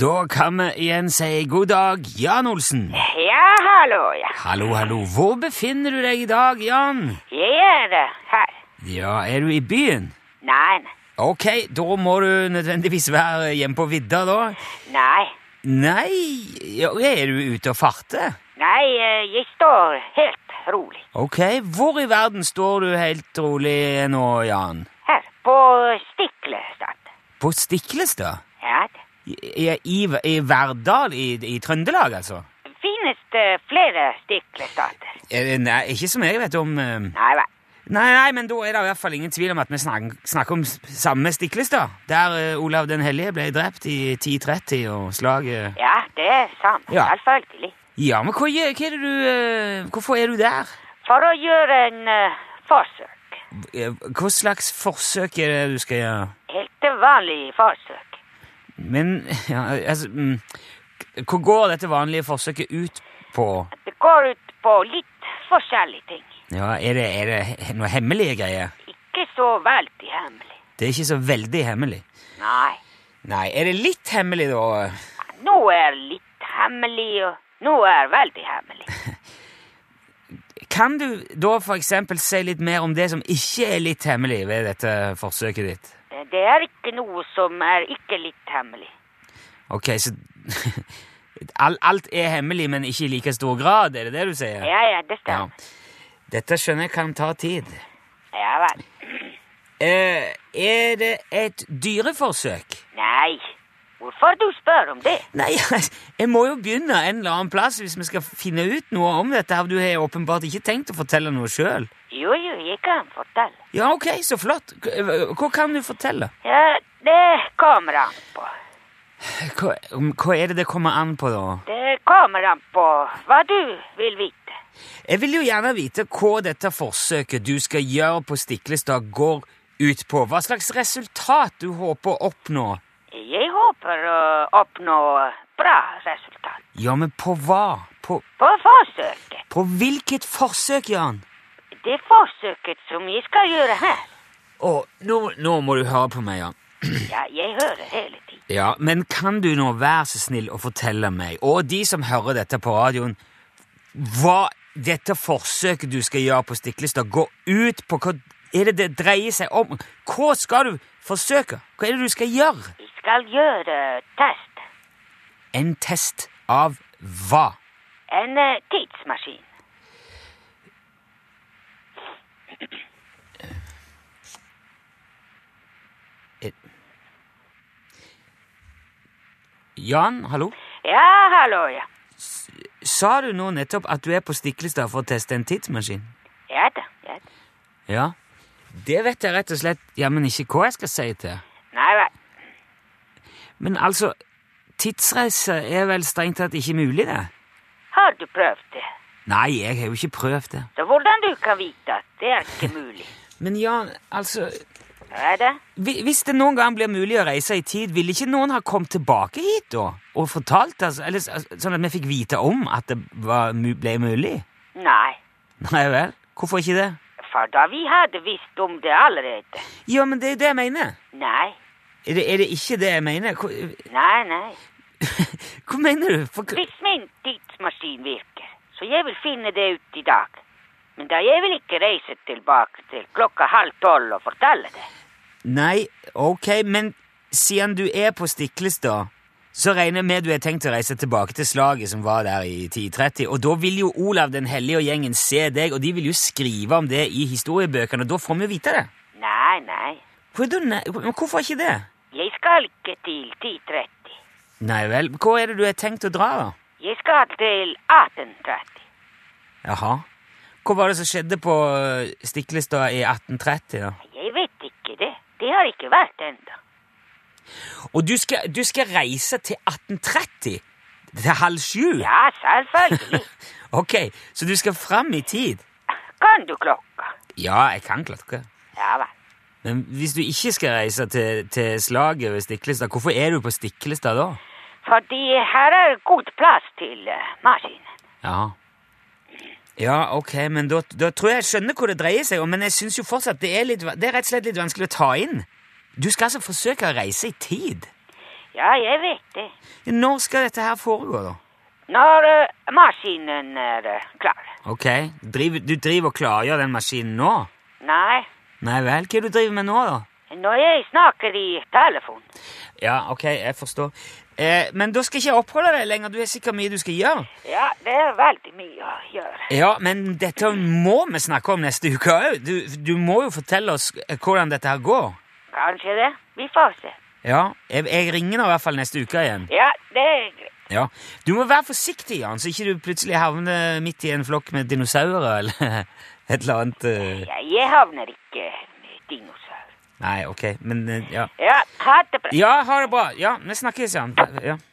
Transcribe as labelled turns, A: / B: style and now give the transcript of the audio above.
A: Da kan vi igjen si god dag, Jan Olsen.
B: Ja, hallo, ja.
A: Hallo, hallo. Hvor befinner du deg i dag, Jan?
B: Jeg er det her.
A: Ja, er du i byen?
B: Nei,
A: Ok, da må du nødvendigvis være hjemme på vidda, da.
B: nei.
A: Nei, ja, er du ute og farter?
B: Nei, eh, jeg står helt rolig
A: Ok, hvor i verden står du helt rolig nå, Jan?
B: her på Stiklestad.
A: På Stiklestad?
B: Ja, det
A: I, i, i Verdal i, i Trøndelag, altså?
B: finnes det flere Stiklestader.
A: Eh, Nei, ikke som jeg vet om. eh.
B: Nei, vel.
A: Nei, nei, men da er det i hvert fall ingen tvil om at vi snakker, snakker om s- samme Stiklestad, der eh, Olav den hellige ble drept i 1030 og slaget
B: Ja, det er sant,
A: Ja.
B: selvfølgelig.
A: Ja, men hva, gjør- hva er det du eh, Hvorfor er du der?
B: For å gjøre en eh, forsøk,
A: Eh, Hva slags forsøk er det du skal gjøre?
B: helt vanlig forsøk.
A: Men ja, altså mm, k- Hva går dette vanlige forsøket ut på?
B: Det går ut på litt forskjellige ting.
A: Ja, Er det, er det he- noe hemmelige greier?
B: Ikke så veldig hemmelig.
A: Det er ikke så veldig hemmelig.
B: Nei,
A: Nei, er det litt hemmelig, da?
B: noe er litt hemmelig, og noe er veldig hemmelig.
A: Kan du da for eksempel si litt mer om det som ikke er litt hemmelig ved dette forsøket ditt?
B: Det Eh, det er ikke noe som er ikke litt hemmelig.
A: Ok, så all, Alt er hemmelig, men ikke i like stor grad, er det det du sier?
B: Ja, ja, det
A: Ja.
B: stemmer.
A: Dette skjønner jeg kan ta tid.
B: Ja, vel.
A: Eh, er det et dyreforsøk?
B: Nei. Hvorfor du spør om det?
A: Nei, altså, jeg må jo begynne en eller annen plass hvis vi skal finne ut noe om dette. her. Du har åpenbart ikke tenkt å fortelle noe sjøl.
B: Jo, jo, jeg kan fortelle.
A: Ja, ok, så flott. Hva hva kan du fortelle?
B: Ja, det kommer an på.
A: Hva, hva er det det kommer an på, da?
B: Det kommer an på hva du vil vite.
A: Jeg vil jo gjerne vite hva dette forsøket du skal gjøre på Stiklestad, går ut på. Hva slags resultat du håper å oppnå.
B: Jeg håper å oppnå bra resultat.
A: Ja, men på hva? På,
B: På forsøket.
A: på hvilket forsøk, Jan?
B: Det forsøket som jeg skal gjøre her.
A: Å, nå, nå må du høre på meg, Jan.
B: Ja, jeg hører hele tiden.
A: Ja, Men kan du nå være så snill å fortelle meg, og de som hører dette på radioen, hva dette forsøket du skal gjøre på Stiklestad, går ut på? Hva er det det dreier seg om? Hva skal du forsøke? Hva er det du skal gjøre?
B: Jeg skal gjøre test.
A: En test av hva?
B: En eh, tidsmaskin.
A: Jan, hallo?
B: Ja, hallo, ja.
A: Sa du nå nettopp at du er på Stiklestad for å teste en tidsmaskin?
B: Ja da, ja da.
A: Ja. Det vet jeg rett og slett jammen ikke hva jeg skal si til.
B: Nei vel.
A: Men altså, tidsreise er vel strengt tatt ikke mulig, det?
B: Har du prøvd det?
A: Nei, jeg har jo ikke prøvd det.
B: Så hvordan du kan vite at det er ikke mulig?
A: Men Jan, altså
B: Er det?
A: hvi- Hvis det noen gang blir mulig å reise i tid, ville ikke noen ha kommet tilbake hit da? Og fortalt oss, eller s- sånn at vi fikk vite om at det var, mu- ble mulig?
B: Nei,
A: Nei vel? Hvorfor ikke det?
B: for da vi hadde visst om det allerede.
A: Ja, men det er jo det jeg mener.
B: Nei,
A: Er det, er det ikke det jeg mener? Hva,
B: nei, nei.
A: hva mener du? For,
B: Hvis min tidsmaskin virker, så jeg vil finne det ut i dag. Men da jeg vil ikke reise tilbake til klokka halv tolv og fortelle det.
A: Nei, ok, men siden du er på Stiklestad, så regner jeg med du har tenkt å reise tilbake til slaget som var der i 1030, og da vil jo Olav den hellige og gjengen se deg, og de vil jo skrive om det i historiebøkene, og da får vi jo vite det.
B: Nei, nei.
A: Hvordan, men hvorfor ikke det?
B: Jeg skal ikke til 10.30.
A: Nei vel, hva er det du har tenkt å dra da?
B: Jeg skal til 18.30.
A: Jaha. Hva var det som skjedde på eh, Stiklestad i 1830 da?
B: Jeg vet ikke det. Det har ikke vært enda.
A: Og du skal, du skal reise til 1830? Til halv sju?
B: Ja, selvfølgelig.
A: Ok, så du skal fram i tid?
B: Kan du klokka?
A: Ja, jeg kan klatre.
B: Ja vel.
A: Men hvis du ikke skal reise til, til slaget ved Stiklestad, hvorfor er du på Stiklestad da?
B: Fordi her er god plass til eh, maskinen.
A: Ja. Ja, ok, men da, da tror jeg jeg skjønner hvor det dreier seg om, men jeg syns jo fortsatt det er, litt, va- det er rett og slett litt vanskelig å ta inn. Du skal altså forsøke å reise i tid.
B: Ja, jeg vet det.
A: Når skal dette her foregå, da?
B: Når eh, maskinen er eh, klar.
A: Ok, driver, Du driver og klargjør den maskinen nå?
B: Nei,
A: Nei vel, hva er det du driver med nå, da?
B: når jeg snakker i telefon.
A: Ja, ok, jeg forstår. Eh, men da skal ikke jeg oppholde deg lenger, du har sikkert mye du skal gjøre.
B: Ja, det er veldig mye å gjøre.
A: Ja, men dette må vi snakke om neste uke òg. Du, du må jo fortelle oss eh, hvordan dette her går.
B: Kanskje det. Vi får se.
A: Ja, jeg, jeg ringer nå i hvert fall neste uke igjen.
B: Ja, det er greit.
A: Ja. Du må være forsiktig, Jan, så ikke du plutselig havner midt i en flokk med dinosaurer eller et eller annet eh.
B: Ja, jeg havner ikke med dinosaur.
A: Nei, ok, men eh, ja.
B: Ja, ha det bra.
A: Ja, ha det bra. Ja, vi snakkes, Jan. Ja.